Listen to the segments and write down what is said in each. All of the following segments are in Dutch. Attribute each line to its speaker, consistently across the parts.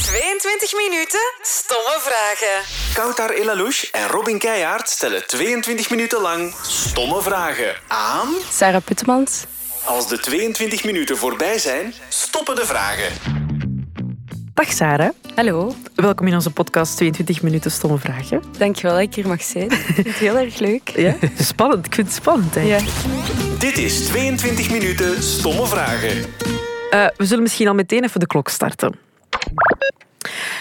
Speaker 1: 20 minuten stomme vragen.
Speaker 2: Koutar Elalouche en Robin Keijaard stellen 22 minuten lang stomme vragen aan.
Speaker 3: Sarah Puttemans.
Speaker 2: Als de 22 minuten voorbij zijn, stoppen de vragen.
Speaker 4: Dag Sarah,
Speaker 3: Hallo,
Speaker 4: welkom in onze podcast 22 minuten stomme vragen.
Speaker 3: dankjewel dat ik hier mag zijn. Ik vind het heel erg leuk.
Speaker 4: Ja? Spannend, ik vind het spannend hè.
Speaker 3: Ja.
Speaker 2: Dit is 22 minuten stomme vragen.
Speaker 4: Eh, we zullen misschien al meteen even de klok starten.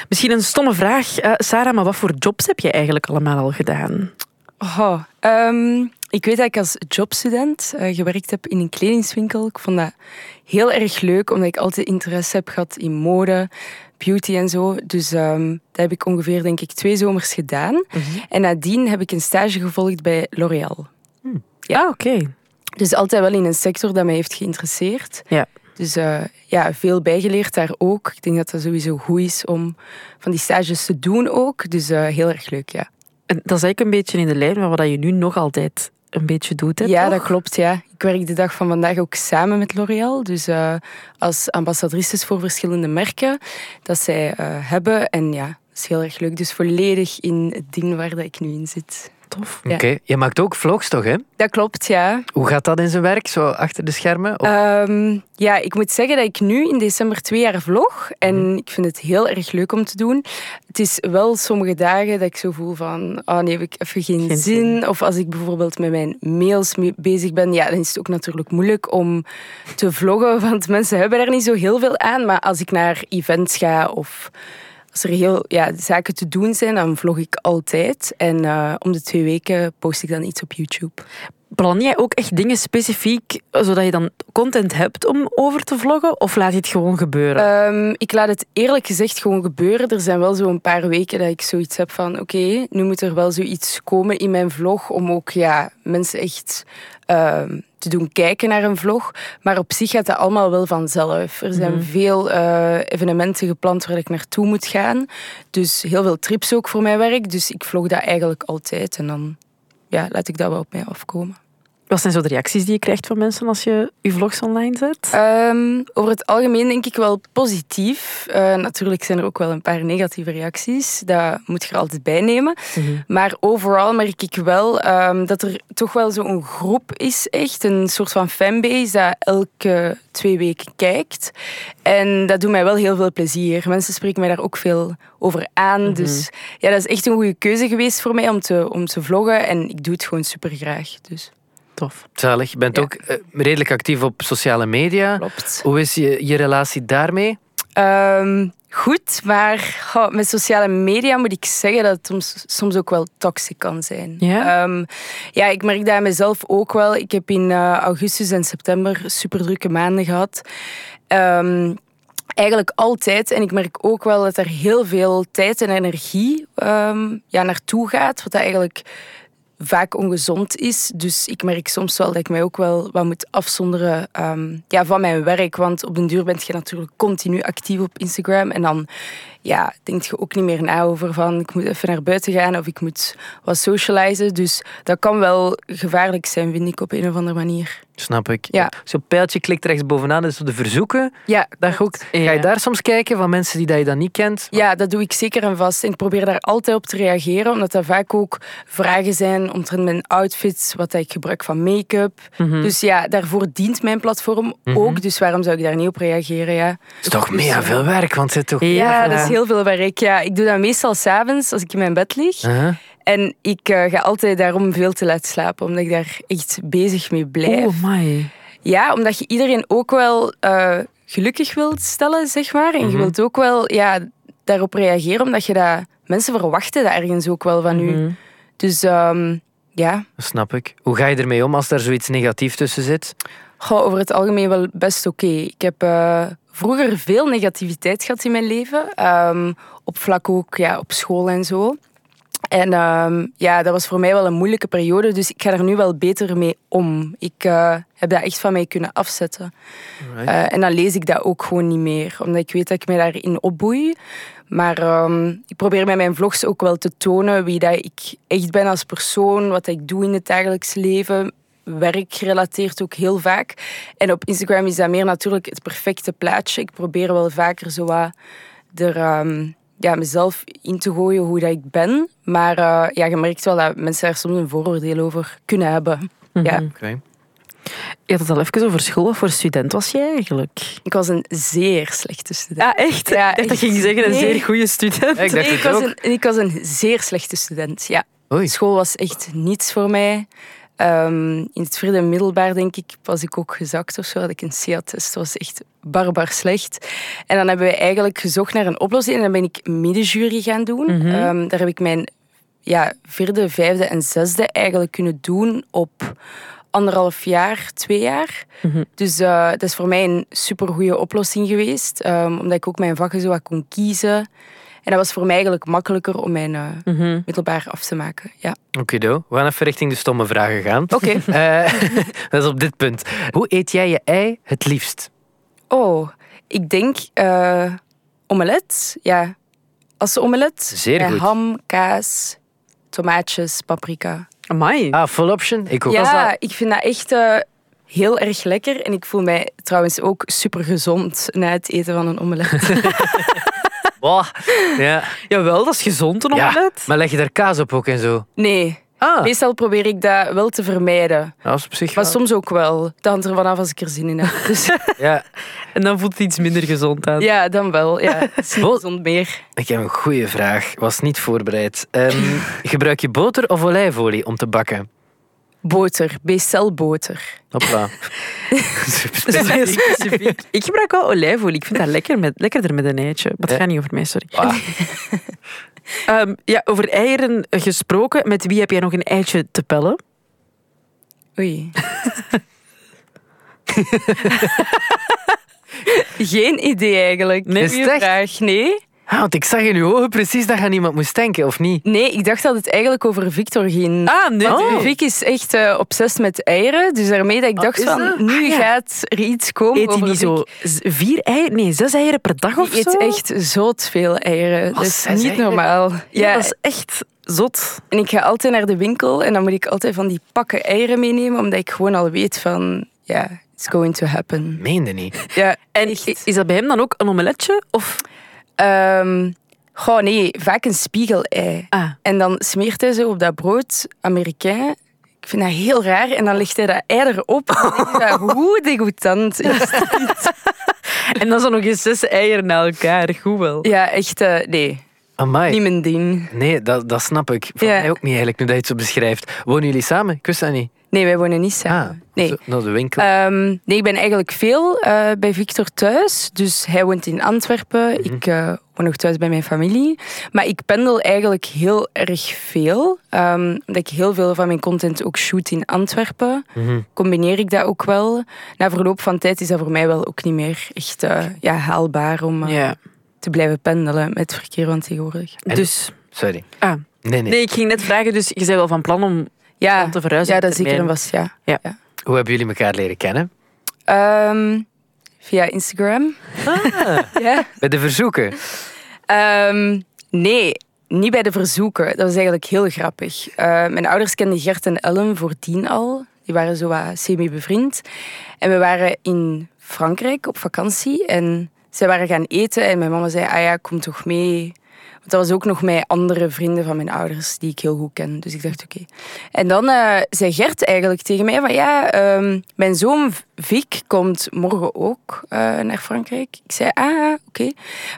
Speaker 4: Misschien een stomme vraag, eh, Sarah, maar wat voor jobs heb je eigenlijk allemaal al gedaan?
Speaker 3: Oh, ehm, ik weet dat ik als jobstudent eh, gewerkt heb in een kledingswinkel. Ik vond dat heel erg leuk, omdat ik altijd interesse heb gehad in mode, beauty en zo. Dus ehm, dat heb ik ongeveer, denk ik, twee zomers gedaan. En nadien heb ik een stage gevolgd bij L'Oréal.
Speaker 4: Ja, Ah, oké.
Speaker 3: Dus altijd wel in een sector dat mij heeft geïnteresseerd.
Speaker 4: Ja.
Speaker 3: Dus eh, ja, veel bijgeleerd daar ook. Ik denk dat dat sowieso goed is om van die stages te doen ook. Dus eh, heel erg leuk, ja.
Speaker 4: En dat is eigenlijk een beetje in de lijn van wat je nu nog altijd een beetje doet. Hè,
Speaker 3: ja,
Speaker 4: toch?
Speaker 3: dat klopt, ja. Ik werk de dag van vandaag ook samen met L'Oréal. Dus eh, als ambassadrices voor verschillende merken dat zij eh, hebben. En ja, dat is heel erg leuk. Dus volledig in het ding waar dat ik nu in zit.
Speaker 4: Tof.
Speaker 3: Ja.
Speaker 5: Oké, je maakt ook vlogs toch, hè?
Speaker 3: Dat klopt, ja.
Speaker 5: Hoe gaat dat in zijn werk, zo achter de schermen? Of-
Speaker 3: Ehm, ja, ik moet zeggen dat ik nu in december twee jaar vlog. En ik vind het heel erg leuk om te doen. Het is wel sommige dagen dat ik zo voel van... Oh nee, heb ik even geen, zin.
Speaker 4: Geen zin.
Speaker 3: Of als ik bijvoorbeeld met mijn mails mee bezig ben. Ja, dan is het ook natuurlijk moeilijk om te vloggen. Want mensen hebben daar niet zo heel veel aan. Maar als ik naar events ga of... Als er heel ja, zaken te doen zijn, dan vlog ik altijd. En eh, om de twee weken post ik dan iets op YouTube.
Speaker 4: Plan jij ook echt dingen specifiek, eh, zodat je dan content hebt om over te vloggen? Of laat je het gewoon gebeuren?
Speaker 3: Ehm, ik laat het eerlijk gezegd gewoon gebeuren. Er zijn wel zo'n paar weken dat ik zoiets heb van... Oké, nu moet er wel zoiets komen in mijn vlog... om ook ja, mensen echt ehm, te doen kijken naar een vlog. Maar op zich gaat dat allemaal wel vanzelf. Er zijn veel eh, evenementen gepland waar ik naartoe moet gaan. Dus heel veel trips ook voor mijn werk. Dus ik vlog dat eigenlijk altijd. En dan ja, laat ik dat wel op mij afkomen.
Speaker 4: Wat zijn zo de reacties die je krijgt van mensen als je je vlogs online zet?
Speaker 3: Ehm, over het algemeen denk ik wel positief. Eh, natuurlijk zijn er ook wel een paar negatieve reacties. Dat moet je er altijd bij nemen. Maar overal merk ik wel ehm, dat er toch wel zo'n groep is, echt. Een soort van fanbase dat elke twee weken kijkt. En dat doet mij wel heel veel plezier. Mensen spreken mij daar ook veel over aan. Dus ja, dat is echt een goede keuze geweest voor mij om te, om te vloggen. En ik doe het gewoon super graag. Dus
Speaker 4: Tof.
Speaker 5: Zalig, je bent
Speaker 3: ja.
Speaker 5: ook eh, redelijk actief op sociale media.
Speaker 3: klopt.
Speaker 5: Hoe is je, je relatie daarmee?
Speaker 3: Ehm, goed, maar goh, met sociale media moet ik zeggen dat het soms, soms ook wel toxic kan zijn.
Speaker 4: Ja?
Speaker 3: Ehm, ja, ik merk dat aan mezelf ook wel. Ik heb in eh, augustus en september super drukke maanden gehad. Ehm, eigenlijk altijd. En ik merk ook wel dat er heel veel tijd en energie ehm, ja, naartoe gaat. Wat dat eigenlijk vaak ongezond is. Dus ik merk soms wel dat ik mij ook wel wat moet afzonderen ehm, ja, van mijn werk. Want op den duur ben je natuurlijk continu actief op Instagram. En dan ja, denk je ook niet meer na over van ik moet even naar buiten gaan of ik moet wat socializen. Dus dat kan wel gevaarlijk zijn, vind ik, op een of andere manier.
Speaker 5: Snap ik.
Speaker 3: Ja.
Speaker 5: Zo'n pijltje klikt rechtsbovenaan, dat is op de verzoeken.
Speaker 3: Ja,
Speaker 5: Dag ook. Ga je
Speaker 4: Ja.
Speaker 5: daar soms kijken van mensen die dat je dan niet kent?
Speaker 3: Ja, dat doe ik zeker en vast. En ik probeer daar altijd op te reageren, omdat dat vaak ook vragen zijn omtrent mijn outfits, wat dat ik gebruik van make-up.
Speaker 5: Mhm.
Speaker 3: Dus ja, daarvoor dient mijn platform ook. Dus waarom zou ik daar niet op reageren? Ja, Dus
Speaker 5: Het Mhm. is toch mega veel werk, want het is toch...
Speaker 3: ja
Speaker 4: voilà.
Speaker 3: dat is heel veel werk. Ja, ik doe dat meestal s'avonds als ik in mijn bed lig.
Speaker 5: Huh?
Speaker 3: En ik eh, ga altijd daarom veel te laat slapen, omdat ik daar echt bezig mee blijf.
Speaker 4: Oh, my.
Speaker 3: Ja, omdat je iedereen ook wel eh, gelukkig wilt stellen, zeg maar. En je wilt ook wel ja, daarop reageren, omdat je dat... Mensen verwachten dat ergens ook wel van u. Dus ehm, ja,
Speaker 5: Dat snap ik. Hoe ga je ermee om als daar zoiets negatiefs tussen zit?
Speaker 3: Goh, over het algemeen wel best oké. Ik heb eh, vroeger veel negativiteit gehad in mijn leven. Ehm, op vlak ook ja, op school en zo. En ehm, ja, dat was voor mij wel een moeilijke periode. Dus ik ga er nu wel beter mee om. Ik eh, heb dat echt van mij kunnen afzetten.
Speaker 5: Alright.
Speaker 3: Eh, en dan lees ik dat ook gewoon niet meer. Omdat ik weet dat ik mij daarin opboei. Maar ehm, ik probeer met mijn vlogs ook wel te tonen wie dat ik echt ben als persoon. Wat ik doe in het dagelijks leven. Werk gerelateerd ook heel vaak. En op Instagram is dat meer natuurlijk het perfecte plaatje. Ik probeer wel vaker zo wat er, ehm, ja, mezelf in te gooien hoe dat ik ben. Maar eh, ja, je merkt wel dat mensen daar soms een vooroordeel over kunnen hebben. Ja.
Speaker 5: Oké.
Speaker 4: Je had het al even over school. Wat voor student was jij eigenlijk?
Speaker 3: Ik was een zeer slechte student.
Speaker 4: Ja, echt?
Speaker 3: Ja,
Speaker 4: ik dacht dat
Speaker 3: echt.
Speaker 4: je ging zeggen, een
Speaker 3: Nee.
Speaker 4: zeer goede student.
Speaker 5: Ja, ik dacht
Speaker 3: Nee, ik
Speaker 5: het
Speaker 3: was,
Speaker 5: ook.
Speaker 3: een, ik was een zeer slechte student, ja.
Speaker 5: Oei.
Speaker 3: School was echt niets voor mij. Ehm, in het vierde middelbaar, denk ik, was ik ook gezakt of zo. Had ik een CA-test. Dat was echt barbar slecht. En dan hebben we eigenlijk gezocht naar een oplossing. En dan ben ik middenjury gaan doen.
Speaker 5: Mhm.
Speaker 3: Ehm, daar heb ik mijn ja, vierde, vijfde en zesde eigenlijk kunnen doen op anderhalf jaar, twee jaar. Dus eh, dat is voor mij een supergoeie oplossing geweest. ehm, omdat ik ook mijn vakken zo wat kon kiezen. En dat was voor mij eigenlijk makkelijker om mijn eh, middelbaar af te maken. Ja.
Speaker 5: Okido. We gaan even richting de stomme vragen gaan. Oké. dat is op dit punt. Hoe eet jij je ei het liefst?
Speaker 3: Oh, ik denk eh, omelet. Ja, als omelet.
Speaker 5: Zeer
Speaker 3: met
Speaker 5: goed.
Speaker 3: ham, kaas, tomaatjes, paprika.
Speaker 4: Amai.
Speaker 5: Ah, full option? Ik ook.
Speaker 3: ja,
Speaker 5: Was dat-
Speaker 3: ik vind dat echt eh, heel erg lekker. En ik voel mij trouwens ook super gezond na het eten van een omelet.
Speaker 5: Wow. Ja.
Speaker 4: Jawel, dat is gezond, een
Speaker 5: Ja.
Speaker 4: omelet.
Speaker 5: Maar leg je daar kaas op ook en zo?
Speaker 3: Nee,
Speaker 5: Ah,
Speaker 3: meestal probeer ik dat wel te vermijden.
Speaker 5: dat is op zich
Speaker 3: Maar
Speaker 5: wel-
Speaker 3: soms ook wel. Dat hangt er vanaf als ik er zin in heb. Dus
Speaker 5: Ja.
Speaker 4: En dan voelt het iets minder gezond aan.
Speaker 3: ja, dan wel. Ja, het is niet
Speaker 5: Wel-
Speaker 3: gezond meer.
Speaker 5: Ik heb een goede vraag. Was niet voorbereid. Ehm, gebruik je boter of olijfolie om te bakken?
Speaker 3: Boter, bestelboter.
Speaker 5: Hopla.
Speaker 4: Dus Dat is heel specifiek. Ik gebruik wel olijfolie. Ik vind dat lekker met, lekkerder met een eitje. Maar het
Speaker 5: Ja.
Speaker 4: gaat niet over mij, sorry.
Speaker 5: Ah.
Speaker 4: Ehm, ja, over eieren gesproken. Met wie heb jij nog een eitje te pellen?
Speaker 3: Oei. Geen idee eigenlijk.
Speaker 5: Nee, is
Speaker 3: Goeie
Speaker 5: het echt?
Speaker 3: vraag. Nee.
Speaker 5: Ah, want ik zag in uw ogen precies dat je aan iemand moest denken, of niet?
Speaker 3: nee, ik dacht dat het eigenlijk over Victor ging.
Speaker 4: Ah, nee.
Speaker 3: Want
Speaker 4: Oh.
Speaker 3: Vic is echt eh obsessed met eieren. Dus daarmee dat ik dacht
Speaker 5: is
Speaker 3: van,
Speaker 5: dat?
Speaker 3: nu
Speaker 4: Ah, ja.
Speaker 3: gaat er iets komen
Speaker 4: Eet hij
Speaker 3: over
Speaker 4: niet zo
Speaker 3: Vic.
Speaker 4: z- vier eieren? Nee, zes eieren per dag of
Speaker 3: Die
Speaker 4: zo?
Speaker 3: eet echt zot veel eieren. dat is
Speaker 5: zes
Speaker 3: niet
Speaker 5: eieren?
Speaker 3: normaal.
Speaker 4: Ja,
Speaker 3: Ja,
Speaker 4: dat is echt zot.
Speaker 3: en ik ga altijd naar de winkel en dan moet ik altijd van die pakken eieren meenemen. Omdat ik gewoon al weet van, ja, it's going to happen.
Speaker 5: Meende niet.
Speaker 3: Ja,
Speaker 4: En i- is dat bij hem dan ook een omeletje? Of...
Speaker 3: Ehm goh, nee, vaak een spiegelei.
Speaker 4: Ah.
Speaker 3: En dan smeert hij zo op dat brood, Amerikaan. Ik vind dat heel raar. En dan legt hij dat ei erop. Ik denk dat, Hoe degoutant is dat?
Speaker 4: En dan zo nog eens zes eieren na elkaar. Goed wel.
Speaker 3: Ja, echt, eh, nee.
Speaker 5: Amai.
Speaker 3: Niet mijn ding.
Speaker 5: Nee, dat, dat snap ik. Van
Speaker 3: Ja.
Speaker 5: mij ook niet eigenlijk, nu dat je het zo beschrijft. Wonen jullie samen? Ik wist dat niet. Ah,
Speaker 3: Nee, wij wonen niet samen. nee.
Speaker 5: zo Naar de winkel.
Speaker 3: Ehm, nee, ik ben eigenlijk veel eh, bij Victor thuis. Dus hij woont in Antwerpen. Ik eh, woon nog thuis bij mijn familie. Maar ik pendel eigenlijk heel erg veel. Ehm, omdat ik heel veel van mijn content ook shoot in Antwerpen. Combineer ik dat ook wel. Na verloop van tijd is dat voor mij wel ook niet meer echt eh, ja, haalbaar om eh,
Speaker 4: Ja.
Speaker 3: te blijven pendelen met verkeer van tegenwoordig.
Speaker 5: En-
Speaker 4: Dus...
Speaker 5: Sorry.
Speaker 4: Ah.
Speaker 5: Nee, nee,
Speaker 4: Nee, ik ging net vragen, dus je bent wel van plan om...
Speaker 3: Ja,
Speaker 4: Om te verhuizen
Speaker 3: ja
Speaker 4: op
Speaker 3: dat is zeker een
Speaker 4: termijn.
Speaker 3: was, ja.
Speaker 4: Ja.
Speaker 5: Hoe hebben jullie elkaar leren kennen?
Speaker 3: Ehm, via Instagram.
Speaker 4: Ah.
Speaker 3: ja.
Speaker 5: Bij de verzoeken.
Speaker 3: Ehm, nee, niet bij de verzoeken. Dat was eigenlijk heel grappig. Eh, mijn ouders kenden Gert en Ellen voordien al. Die waren zo wat semi-bevriend. En we waren in Frankrijk op vakantie. En zij waren gaan eten. En mijn mama zei, ah ja, kom toch mee. Want dat was ook nog met andere vrienden van mijn ouders, die ik heel goed ken. Dus ik dacht, oké. En dan eh, zei Gert eigenlijk tegen mij van, ja, ehm, mijn zoon Vic komt morgen ook eh, naar Frankrijk. Ik zei, ah, oké.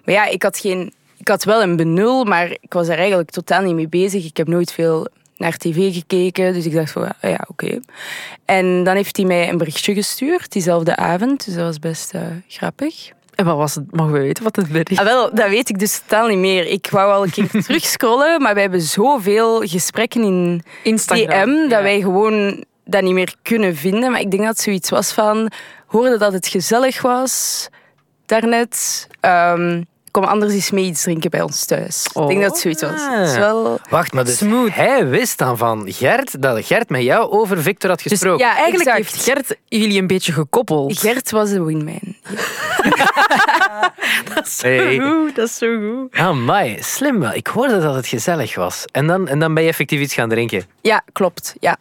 Speaker 3: Maar ja, ik had geen... Ik had wel een benul, maar ik was er eigenlijk totaal niet mee bezig. Ik heb nooit veel naar tv gekeken, dus ik dacht van, ah, ja, oké. En dan heeft hij mij een berichtje gestuurd, diezelfde avond. Dus dat was best eh, grappig.
Speaker 4: En wat was het? Mogen we weten wat het bericht
Speaker 3: Ah, wel, dat weet ik dus totaal niet meer. Ik wou al een keer terugscrollen, maar we hebben zoveel gesprekken in
Speaker 4: Instagram.
Speaker 3: DM dat
Speaker 4: Ja.
Speaker 3: wij gewoon dat niet meer kunnen vinden. Maar ik denk dat het zoiets was van, hoorde dat het gezellig was daarnet. Ehm kom anders eens mee iets drinken bij ons thuis. Ik denk dat het zoiets was.
Speaker 4: Oh.
Speaker 3: Het is wel...
Speaker 5: Wacht, maar dus
Speaker 4: Smooth.
Speaker 5: hij wist dan van Gert dat Gert met jou over Victor had
Speaker 4: Dus
Speaker 5: gesproken.
Speaker 3: ja,
Speaker 4: Eigenlijk
Speaker 3: exact.
Speaker 4: heeft Gert jullie een beetje gekoppeld.
Speaker 3: Gert was de winman.
Speaker 5: Hey.
Speaker 4: Oeh, dat is zo goed.
Speaker 5: Amai, slim wel. Ik hoorde dat het gezellig was. En dan, en dan ben je effectief iets gaan drinken.
Speaker 3: Ja, klopt. Ja,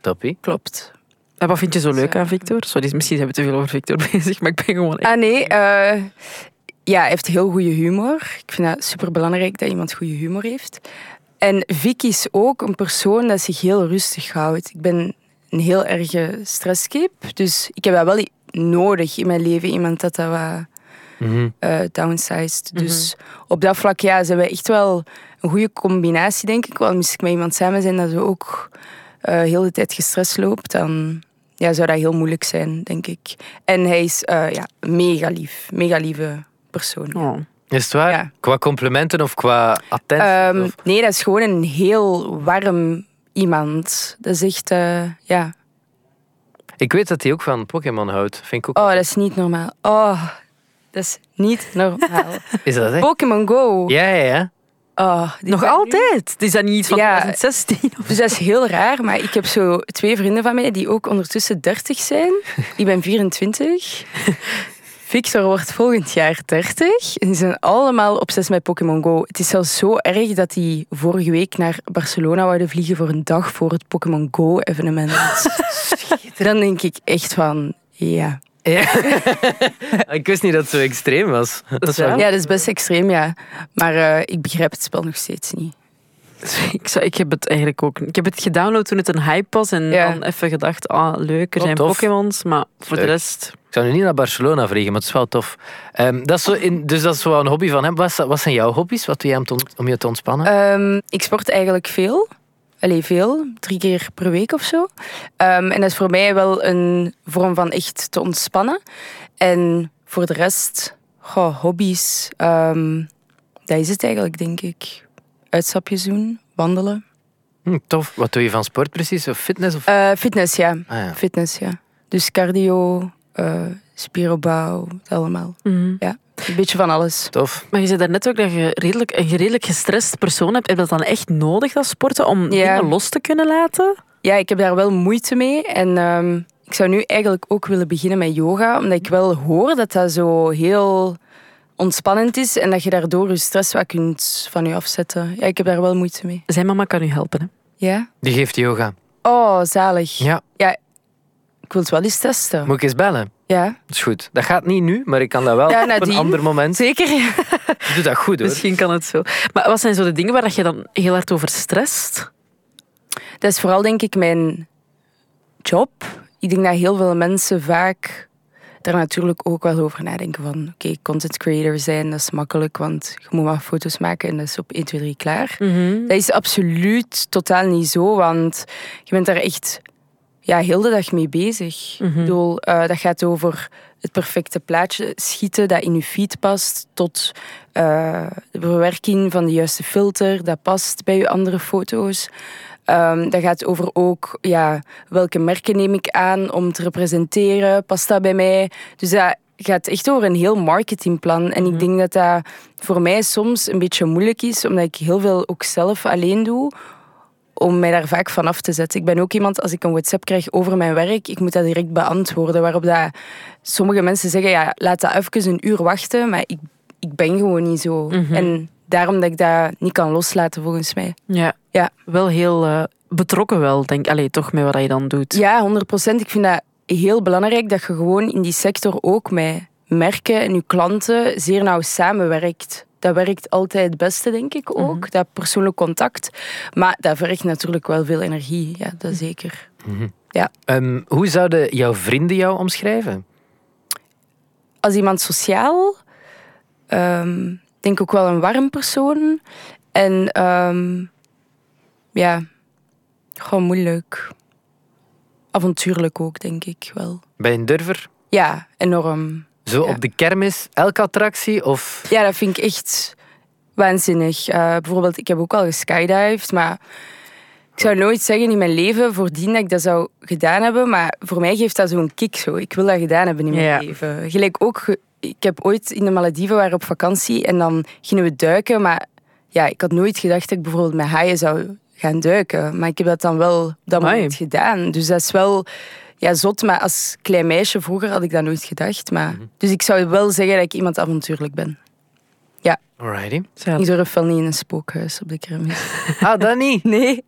Speaker 5: Toppie.
Speaker 3: klopt.
Speaker 4: En wat vind je zo leuk aan Victor? Sorry, misschien zijn we te veel over Victor bezig, maar ik ben gewoon echt...
Speaker 3: Ah nee, eh, ja, hij heeft heel goede humor. Ik vind dat superbelangrijk dat iemand goede humor heeft. En Vic is ook een persoon dat zich heel rustig houdt. Ik ben een heel erge stresskip, dus ik heb dat wel i- nodig in mijn leven. Iemand dat dat wat
Speaker 5: Mhm.
Speaker 3: eh, downsized. Dus op dat vlak ja, zijn we echt wel een goede combinatie, denk ik. Want moest ik met iemand samen zijn dat we ook eh, heel de tijd gestrest loopt, dan ja, zou dat heel moeilijk zijn, denk ik. En hij is eh, ja, mega lief, mega lieve persoon. ja.
Speaker 4: Oh.
Speaker 5: Is het waar?
Speaker 3: Ja.
Speaker 5: Qua complimenten of qua attentie?
Speaker 3: Ehm,
Speaker 5: of-
Speaker 3: nee, dat is gewoon een heel warm iemand. Dat is echt, eh, ja.
Speaker 5: Ik weet dat hij ook van Pokémon houdt. Vind ik ook.
Speaker 3: Oh, dat is niet normaal. Oh, dat is niet normaal.
Speaker 5: Is dat echt?
Speaker 3: Pokémon Go.
Speaker 5: Ja, ja, ja.
Speaker 3: Oh, die
Speaker 4: Nog
Speaker 3: zijn nu-
Speaker 4: altijd? Is dat niet iets van
Speaker 3: Ja.
Speaker 4: 2016? of-
Speaker 3: Dus dat is heel raar, maar ik heb zo twee vrienden van mij die ook ondertussen 30 zijn. Ik ben 24. Victor wordt volgend jaar 30. En die zijn allemaal obsessief met Pokémon Go. Het is zelfs zo erg dat die vorige week naar Barcelona wouden vliegen voor een dag voor het Pokémon Go-evenement. Dan denk ik echt van, ja.
Speaker 5: Ik wist niet dat het zo extreem was. Dat is wel
Speaker 3: Ja, dat is best extreem, ja. Maar eh, ik begrijp het spel nog steeds niet.
Speaker 4: Ik, zou, ik heb het eigenlijk ook. Ik heb het gedownload toen het een hype was en
Speaker 3: Ja.
Speaker 4: dan even gedacht, ah, leuk, er
Speaker 5: Oh,
Speaker 4: zijn
Speaker 5: tof.
Speaker 4: Pokémons, maar voor de
Speaker 5: Leuk.
Speaker 4: rest...
Speaker 5: Ik zou nu niet naar Barcelona vliegen, maar het is wel tof. Ehm, dat is zo in, dus dat is wel een hobby van hem. Wat, is- wat zijn jouw hobby's? Wat doe jij om, te ont- om je te ontspannen?
Speaker 3: Ehm, ik sport eigenlijk veel. Allee, veel. Drie keer per week of zo. Ehm, en dat is voor mij wel een vorm van echt te ontspannen. En voor de rest, goh, hobby's. ehm, dat is het eigenlijk, denk ik. Uitstapjes doen, wandelen.
Speaker 5: Hm, tof. Wat doe je van sport precies? Of fitness? Of...
Speaker 3: Eh, fitness, ja.
Speaker 5: Ah, ja.
Speaker 3: Fitness, ja. Dus cardio, eh, spieropbouw, dat allemaal.
Speaker 4: Mhm.
Speaker 3: Ja, een beetje van alles.
Speaker 5: Tof.
Speaker 4: Maar je zei daarnet ook dat je redelijk, een redelijk gestrest persoon hebt. Heb je dat dan echt nodig, dat sporten, om
Speaker 3: Ja.
Speaker 4: dingen los te kunnen laten?
Speaker 3: ja, ik heb daar wel moeite mee. En ehm, ik zou nu eigenlijk ook willen beginnen met yoga, omdat ik wel hoor dat dat zo heel ontspannend is en dat je daardoor je stress wat kunt van je afzetten. Ja, ik heb daar wel moeite mee.
Speaker 4: Zijn mama kan u helpen, hè?
Speaker 3: Ja?
Speaker 5: Die geeft yoga.
Speaker 3: Oh, zalig.
Speaker 5: Ja.
Speaker 3: Ik wil het wel eens testen.
Speaker 5: Moet ik eens bellen?
Speaker 3: Ja.
Speaker 5: Dat is goed. Dat gaat niet nu, maar ik kan dat wel
Speaker 3: Ja,
Speaker 5: op een
Speaker 3: nadien.
Speaker 5: ander moment.
Speaker 3: Zeker?
Speaker 5: Je doet dat goed hoor.
Speaker 4: Misschien kan het zo. Maar wat zijn zo de dingen waar dat je dan heel hard over stresst?
Speaker 3: Dat is vooral denk ik mijn job. Ik denk dat heel veel mensen vaak daar natuurlijk ook wel over nadenken van oké, content creator zijn, dat is makkelijk, want je moet maar foto's maken en dat is op 1, 2, 3 klaar. Dat is absoluut totaal niet zo, want je bent daar echt ja, heel de dag mee bezig. Ik bedoel, eh, dat gaat over het perfecte plaatje schieten dat in je feed past, tot eh, de bewerking van de juiste filter dat past bij je andere foto's. Ehm, dat gaat over ook ja, welke merken neem ik aan om te representeren, past dat bij mij? Dus dat gaat echt over een heel marketingplan. En ik denk dat dat voor mij soms een beetje moeilijk is, omdat ik heel veel ook zelf alleen doe om mij daar vaak van af te zetten. Ik ben ook iemand, als ik een WhatsApp krijg over mijn werk, ik moet dat direct beantwoorden. Waarop dat sommige mensen zeggen, ja, laat dat even een uur wachten, maar ik, ik ben gewoon niet zo. En daarom dat ik dat niet kan loslaten, volgens mij.
Speaker 4: Ja.
Speaker 3: Ja.
Speaker 4: Wel heel eh, betrokken wel, denk ik. Allee, toch met wat je dan doet.
Speaker 3: Ja, 100 procent. Ik vind dat heel belangrijk dat je gewoon in die sector ook met merken en je klanten zeer nauw samenwerkt. Dat werkt altijd het beste, denk ik ook, dat persoonlijk contact. Maar dat vergt natuurlijk wel veel energie, ja, dat zeker.
Speaker 5: Ehm, hoe zouden jouw vrienden jou omschrijven?
Speaker 3: Als iemand sociaal, ehm, denk ook wel een warm persoon. En ehm, ja, gewoon moeilijk. Avontuurlijk ook, denk ik wel.
Speaker 5: Bij een durver?
Speaker 3: Ja, enorm.
Speaker 5: Zo
Speaker 3: Ja.
Speaker 5: op de kermis, elke attractie? Of
Speaker 3: Ja, dat vind ik echt waanzinnig. Eh, bijvoorbeeld, ik heb ook al geskydived, maar ik zou nooit zeggen in mijn leven voordien dat ik dat zou gedaan hebben. Maar voor mij geeft dat zo'n kick zo. Ik wil dat gedaan hebben in mijn
Speaker 4: Ja.
Speaker 3: leven. Gelijk ook, ge- ik heb ooit in de Malediven waren we op vakantie en dan gingen we duiken. Maar ja, ik had nooit gedacht dat ik bijvoorbeeld met haaien zou gaan duiken. Maar ik heb dat dan wel op dat
Speaker 4: Amai.
Speaker 3: moment gedaan. Dus dat is wel ja, zot. Maar als klein meisje vroeger had ik dat nooit gedacht.
Speaker 4: Mhm.
Speaker 3: Maar, dus ik zou wel zeggen dat ik iemand avontuurlijk ben.
Speaker 5: Alrighty.
Speaker 4: Zalig.
Speaker 3: Ik durf wel niet in een spookhuis op de kermis.
Speaker 5: Ah, dat niet.
Speaker 3: Nee.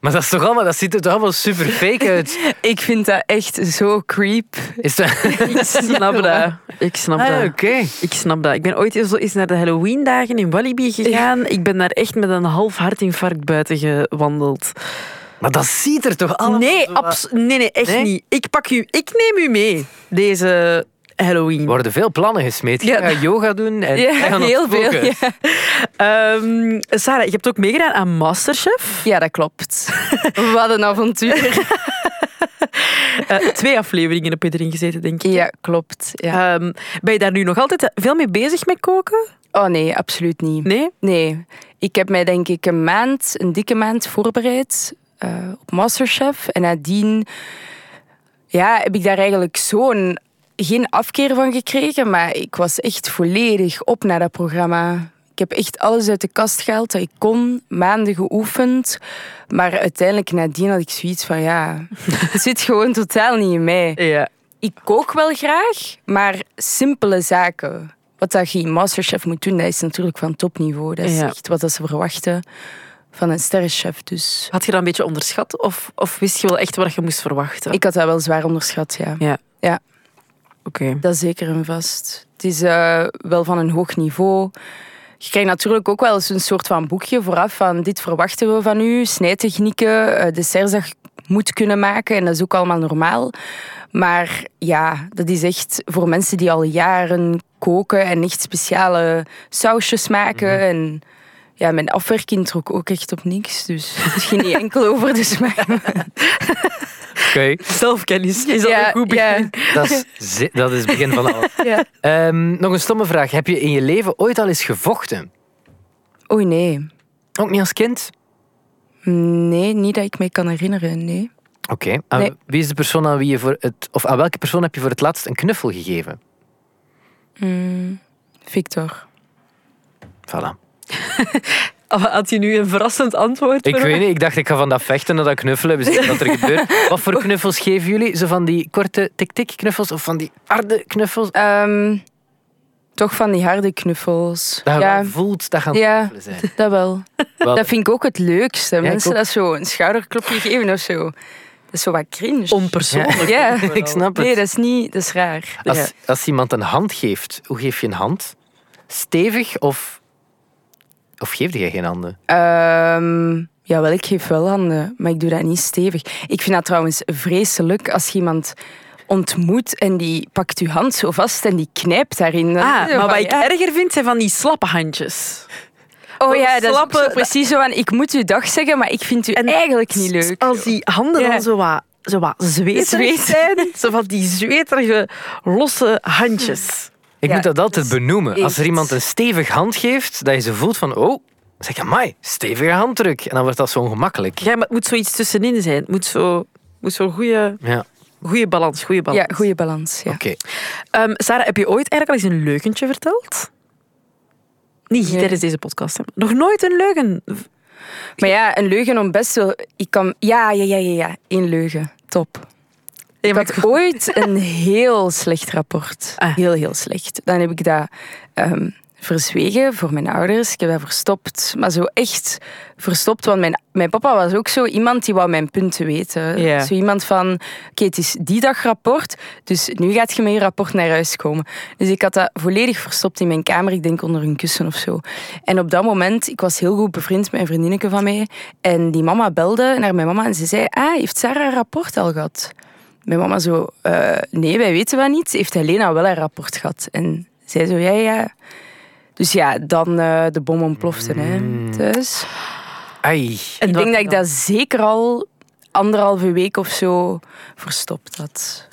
Speaker 5: Maar dat, is toch allemaal, dat ziet er toch allemaal super fake uit?
Speaker 3: Ik vind dat echt zo creep.
Speaker 5: Is dat...
Speaker 4: Ik snap dat. Ik snap
Speaker 5: Ah,
Speaker 4: dat.
Speaker 5: oké.
Speaker 4: Ik snap dat. Ik ben ooit zo eens naar de Halloween-dagen in Walibi gegaan. Ik ben daar echt met een half hartinfarct buiten gewandeld.
Speaker 5: Maar dat ziet er toch allemaal...
Speaker 4: Nee,
Speaker 5: zo-
Speaker 4: abs- nee, nee, echt
Speaker 5: Nee?
Speaker 4: niet. Ik pak u, ik neem u mee deze Halloween.
Speaker 5: Er worden veel plannen gesmeed. Je
Speaker 4: Ja.
Speaker 5: gaat yoga doen en
Speaker 3: Ja,
Speaker 5: jij gaat nog
Speaker 3: heel veel,
Speaker 5: koken.
Speaker 3: ja.
Speaker 4: Ehm, Sarah, je hebt ook meegedaan aan Masterchef.
Speaker 3: Ja, dat klopt. Wat een avontuur.
Speaker 4: Eh, twee afleveringen heb je erin gezeten, denk ik.
Speaker 3: Ja, klopt. Ja.
Speaker 4: Ehm, ben je daar nu nog altijd veel mee bezig met koken?
Speaker 3: Oh nee, absoluut niet.
Speaker 4: Nee?
Speaker 3: Nee, ik heb mij denk ik een maand, een dikke maand voorbereid eh, op Masterchef. En nadien ja, heb ik daar eigenlijk zo'n geen afkeer van gekregen, maar ik was echt volledig op naar dat programma. Ik heb echt alles uit de kast gehaald dat ik kon, maanden geoefend. Maar uiteindelijk nadien had ik zoiets van, ja, het zit gewoon totaal niet in mij.
Speaker 4: Ja.
Speaker 3: Ik kook wel graag, maar simpele zaken. Wat dat je in Masterchef moet doen, dat is natuurlijk van topniveau. Dat is
Speaker 4: Ja.
Speaker 3: echt wat dat ze verwachten van een sterrenchef. Dus
Speaker 4: Had je dat een beetje onderschat? Of, of wist je wel echt wat je moest verwachten?
Speaker 3: ik had dat wel zwaar onderschat, ja.
Speaker 4: Ja.
Speaker 3: Ja.
Speaker 4: Oké.
Speaker 3: Dat is zeker en vast. Het is eh, wel van een hoog niveau. Je krijgt natuurlijk ook wel eens een soort van boekje vooraf van dit verwachten we van u, snijtechnieken, eh, desserts dat je moet kunnen maken en dat is ook allemaal normaal. Maar ja, dat is echt voor mensen die al jaren koken en echt speciale sausjes maken
Speaker 4: Mhm.
Speaker 3: en ja, mijn afwerking trok ook echt op niks, dus het ging niet enkel over de smaak.
Speaker 5: Oké,
Speaker 4: Zelfkennis is al
Speaker 3: Ja,
Speaker 4: een goed begin.
Speaker 5: dat, is zi- dat is het begin van alles.
Speaker 3: Ja.
Speaker 5: Ehm, nog een stomme vraag. Heb je in je leven ooit al eens gevochten?
Speaker 3: Oei, nee. Mm,
Speaker 5: Ook niet als kind?
Speaker 3: Nee, niet dat ik me kan herinneren, nee.
Speaker 5: Oké. Aan
Speaker 3: Nee.
Speaker 5: Wie is de persoon aan wie je voor het... Of aan welke persoon heb je voor het laatst een knuffel gegeven?
Speaker 3: Victor.
Speaker 5: Voilà.
Speaker 4: Had je nu een verrassend antwoord?
Speaker 5: Ik weet niet, ik dacht ik ga van dat vechten naar dat knuffelen. We zien wat er gebeurt. Wat voor knuffels geven jullie? Zo van die korte tik-tik knuffels of van die harde knuffels?
Speaker 3: Ehm, toch van die harde knuffels.
Speaker 5: Dat je
Speaker 3: ja,
Speaker 5: wel voelt dat gaan
Speaker 3: ja,
Speaker 5: knuffelen zijn.
Speaker 3: dat wel.
Speaker 5: Wel-
Speaker 3: Dat vind ik ook het leukste. Mensen
Speaker 5: ook.
Speaker 3: dat zo een schouderklopje geven of zo. Dat is zo wat cringe.
Speaker 4: Onpersoonlijk.
Speaker 3: ja,
Speaker 5: Ik snap het.
Speaker 3: Nee, dat is niet... Dat is raar.
Speaker 5: Als,
Speaker 4: Ja.
Speaker 5: als iemand een hand geeft, hoe geef je een hand? Stevig of... Of geef je geen handen?
Speaker 3: Ehm, jawel, ik geef wel handen, maar ik doe dat niet stevig. Ik vind dat trouwens vreselijk als je iemand ontmoet en die pakt je hand zo vast en die knijpt daarin. Dan
Speaker 4: Ah,
Speaker 3: denk je
Speaker 4: maar
Speaker 3: van,
Speaker 4: wat ik
Speaker 3: ja.
Speaker 4: erger vind, zijn van die slappe handjes.
Speaker 3: Oh ja, dat is ook
Speaker 4: slappe-
Speaker 3: zo precies zo van, ik moet u dag zeggen, maar ik vind u eigenlijk niet leuk.
Speaker 4: Als die handen
Speaker 3: Ja.
Speaker 4: dan zo wat, zo wat zweterig
Speaker 3: Zweet.
Speaker 4: zijn. Zo van die zweterige, losse handjes.
Speaker 5: Ik
Speaker 3: Ja,
Speaker 5: moet dat altijd
Speaker 4: dus
Speaker 5: benoemen. Als er
Speaker 3: echt.
Speaker 5: iemand een stevig hand geeft, dat je ze voelt van... Oh, zeg je, amai, stevige handdruk. En dan wordt dat zo ongemakkelijk.
Speaker 4: Ja, maar het moet zoiets tussenin zijn. Het moet zo... Moet zo'n goede,
Speaker 5: Ja, oké.
Speaker 4: goede balans, goede balans.
Speaker 3: Ja, goede balans. Ja.
Speaker 4: Ehm, Sarah, heb je ooit eigenlijk al eens een leugentje verteld? Niet
Speaker 3: Nee.
Speaker 4: tijdens deze podcast. hè. Nog nooit een leugen.
Speaker 3: Maar ja, een leugen om best wel. Ik kan. Ja, ja, ja, ja, ja. Eén leugen. Top.
Speaker 4: Nee,
Speaker 3: Ik
Speaker 4: maar
Speaker 3: had ooit een heel slecht rapport.
Speaker 4: Ah.
Speaker 3: Heel, heel slecht. Dan heb ik dat ehm, verzwegen voor mijn ouders. Ik heb dat verstopt. Maar zo echt verstopt. Want mijn, mijn papa was ook zo iemand die wou mijn punten weten.
Speaker 4: Ja.
Speaker 3: Eh, Zo iemand van, oké, het is die dag rapport. Dus nu gaat je met je rapport naar huis komen. Dus ik had dat volledig verstopt in mijn kamer. Ik denk onder een kussen of zo. En op dat moment, ik was heel goed bevriend met een vriendinnetje van mij. En die mama belde naar mijn mama en ze zei... Ah, heeft Sarah een rapport al gehad? Mijn mama zo, eh, nee, wij weten van niet. Heeft Helena wel een rapport gehad? En zij zo, ja, ja, ja. Dus ja, dan eh, de bom ontplofte hè, dus. thuis.
Speaker 5: Ai.
Speaker 4: En
Speaker 3: ik
Speaker 4: wat
Speaker 3: denk dat ik
Speaker 4: dan?
Speaker 3: dat zeker al anderhalve week of zo verstopt had.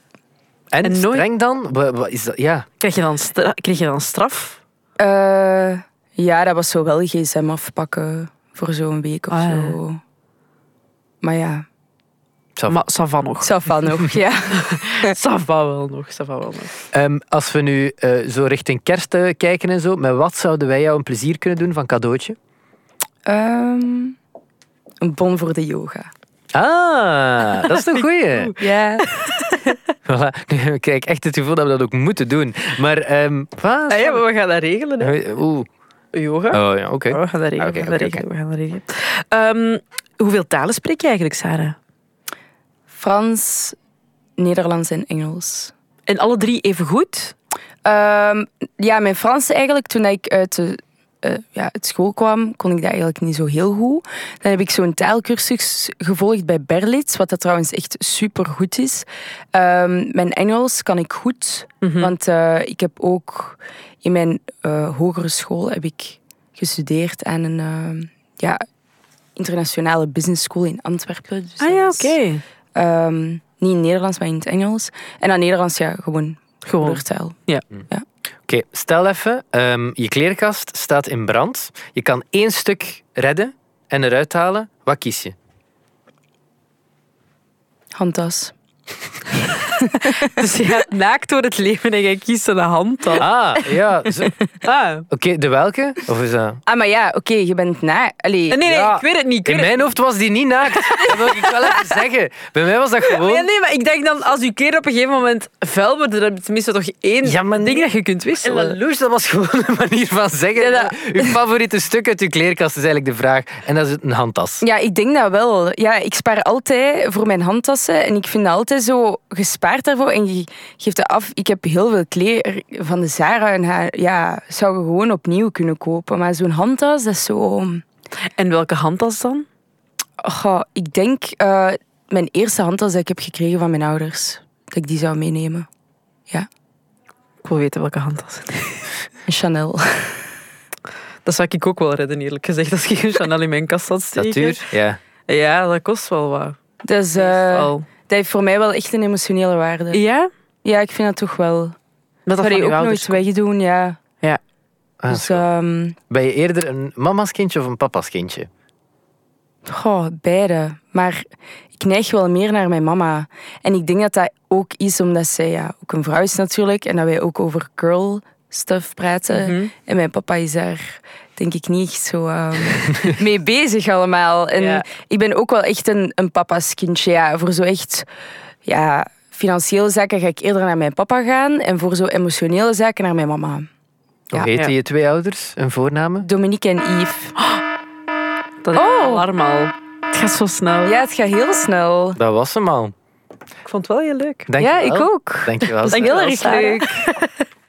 Speaker 5: En,
Speaker 4: En nooit-
Speaker 5: streng dan? Wa- wa- is dat? Ja.
Speaker 4: Krijg je dan, stra- krijg je dan straf?
Speaker 3: Eh, ja, dat was zo wel gsm afpakken voor zo'n week of
Speaker 4: Ah, ja.
Speaker 3: zo. Maar ja,
Speaker 5: Of-
Speaker 4: Maar ça va nog.
Speaker 3: ça va nog, ja.
Speaker 4: Ça va wel nog. Ça va wel nog.
Speaker 5: Ehm, als we nu eh, zo richting kerst eh, kijken en zo, met wat zouden wij jou een plezier kunnen doen van cadeautje?
Speaker 3: Ehm, een bon voor de yoga.
Speaker 5: Ah, dat is een goeie.
Speaker 3: Ja,
Speaker 5: Voilà. Nu krijg ik echt het gevoel dat we dat ook moeten doen. Maar, ehm wat?
Speaker 4: Ah, ja, maar we gaan dat regelen. Hè.
Speaker 5: Oeh.
Speaker 4: Yoga.
Speaker 5: Oh ja, oké.
Speaker 4: Ja, we gaan dat regelen.
Speaker 5: Ah, Oké,
Speaker 4: we gaan dat
Speaker 5: oké,
Speaker 4: regelen, we gaan dat regelen. Ehm, Hoeveel talen spreek je eigenlijk, Sarah?
Speaker 3: Frans, Nederlands en Engels.
Speaker 4: En alle drie even goed?
Speaker 3: Ehm, ja, mijn Frans eigenlijk, toen ik uit de, eh, ja, uit school kwam, kon ik dat eigenlijk niet zo heel goed. Dan heb ik zo'n taalkursus gevolgd bij Berlitz, wat dat trouwens echt supergoed is. Ehm, mijn Engels kan ik goed, want eh, ik heb ook in mijn eh, hogere school heb ik gestudeerd aan een eh, ja, internationale business school in Antwerpen.
Speaker 4: Ah
Speaker 3: Dus dat was, ehm, niet in Nederlands, maar in het Engels. En aan Nederlands, ja, gewoon
Speaker 4: Gewoon.
Speaker 3: moedertaal.
Speaker 5: Oké, stel even, ehm, je klerenkast staat in brand. Je kan één stuk redden en eruit halen. Wat kies je?
Speaker 3: Handtas.
Speaker 4: Dus je gaat naakt door het leven en je kiest een handtas.
Speaker 5: Ah, ja. zo- Oké,
Speaker 4: Ah.
Speaker 5: de welke? Of is dat...
Speaker 3: Ah, maar ja, oké, je bent na. Allee,
Speaker 4: Eh, Nee, nee,
Speaker 5: Ja.
Speaker 4: ik weet het niet. Ik weet
Speaker 5: In
Speaker 4: het-
Speaker 5: mijn hoofd was die niet naakt. Dat wil ik wel even zeggen. Bij mij was dat
Speaker 4: Ja,
Speaker 5: gewoon...
Speaker 4: nee, maar ik denk dan, als je kleren op een gegeven moment vuil worden, dan heb je tenminste toch één
Speaker 5: Ja, maar
Speaker 4: ding
Speaker 5: nee.
Speaker 4: dat je kunt
Speaker 5: En
Speaker 4: wisselen.
Speaker 5: dat loes, dat was gewoon een manier van zeggen.
Speaker 4: Ja, dat-
Speaker 5: Uw favoriete stuk uit uw kleerkast is eigenlijk de vraag. En dat is een handtas.
Speaker 3: Ja, ik denk dat wel. Ja, ik spaar altijd voor mijn handtassen. En ik vind dat altijd zo gespaard daarvoor. En je geeft dat af. Ik heb heel veel kleren van de Zara. En haar, ja, zou je gewoon opnieuw kunnen kopen. Maar zo'n handtas, dat is zo... oh,
Speaker 4: En welke handtas dan?
Speaker 3: Goh, ik denk eh, mijn eerste handtas dat ik heb gekregen van mijn ouders. Dat ik die zou meenemen.
Speaker 4: Ik wil weten welke handtas.
Speaker 3: Een Chanel.
Speaker 4: Dat zou ik ook wel redden, eerlijk gezegd. Als ik een Chanel in mijn kast had steken.
Speaker 5: Dat duur? Ja.
Speaker 4: Ja, dat kost wel wat.
Speaker 3: Dus eh, dat heeft voor mij wel echt een emotionele waarde.
Speaker 4: Ja?
Speaker 3: Ja, ik vind dat toch wel.
Speaker 4: Maar
Speaker 3: Dat
Speaker 4: dat
Speaker 3: zou
Speaker 4: van
Speaker 3: je
Speaker 4: uw
Speaker 3: ook
Speaker 4: ouders
Speaker 3: nooit wegdoen, ja.
Speaker 5: Ah,
Speaker 3: dus... ehm,
Speaker 5: Ben je eerder een mama's kindje of een papa's kindje?
Speaker 3: Goh, beide. Maar ik neig wel meer naar mijn mama. En ik denk dat dat ook is omdat zij ja, ook een vrouw is natuurlijk. En dat wij ook over girl stuff praten.
Speaker 4: Mhm.
Speaker 3: En mijn papa is daar denk ik niet echt zo ehm, mee bezig allemaal. En
Speaker 4: Ja.
Speaker 3: ik ben ook wel echt een, een papa's kindje. Ja. Voor zo echt ja, financiële zaken ga ik eerder naar mijn papa gaan. En voor zo emotionele zaken naar mijn mama.
Speaker 5: Hoe
Speaker 3: Ja.
Speaker 5: heten
Speaker 4: Ja.
Speaker 5: je twee ouders? Een voornamen?
Speaker 3: Dominique en Yves.
Speaker 4: Dat is
Speaker 3: Oh.
Speaker 4: een alarm al. Het gaat zo snel.
Speaker 3: Ja, het gaat heel snel.
Speaker 5: Dat was hem al.
Speaker 4: Ik vond het wel heel leuk.
Speaker 5: Dank
Speaker 3: ja,
Speaker 5: je wel.
Speaker 3: ik ook.
Speaker 5: Dankjewel.
Speaker 3: Dat is
Speaker 5: Sarah.
Speaker 3: heel
Speaker 4: Dankjewel,
Speaker 3: erg
Speaker 4: Sarah.
Speaker 3: leuk.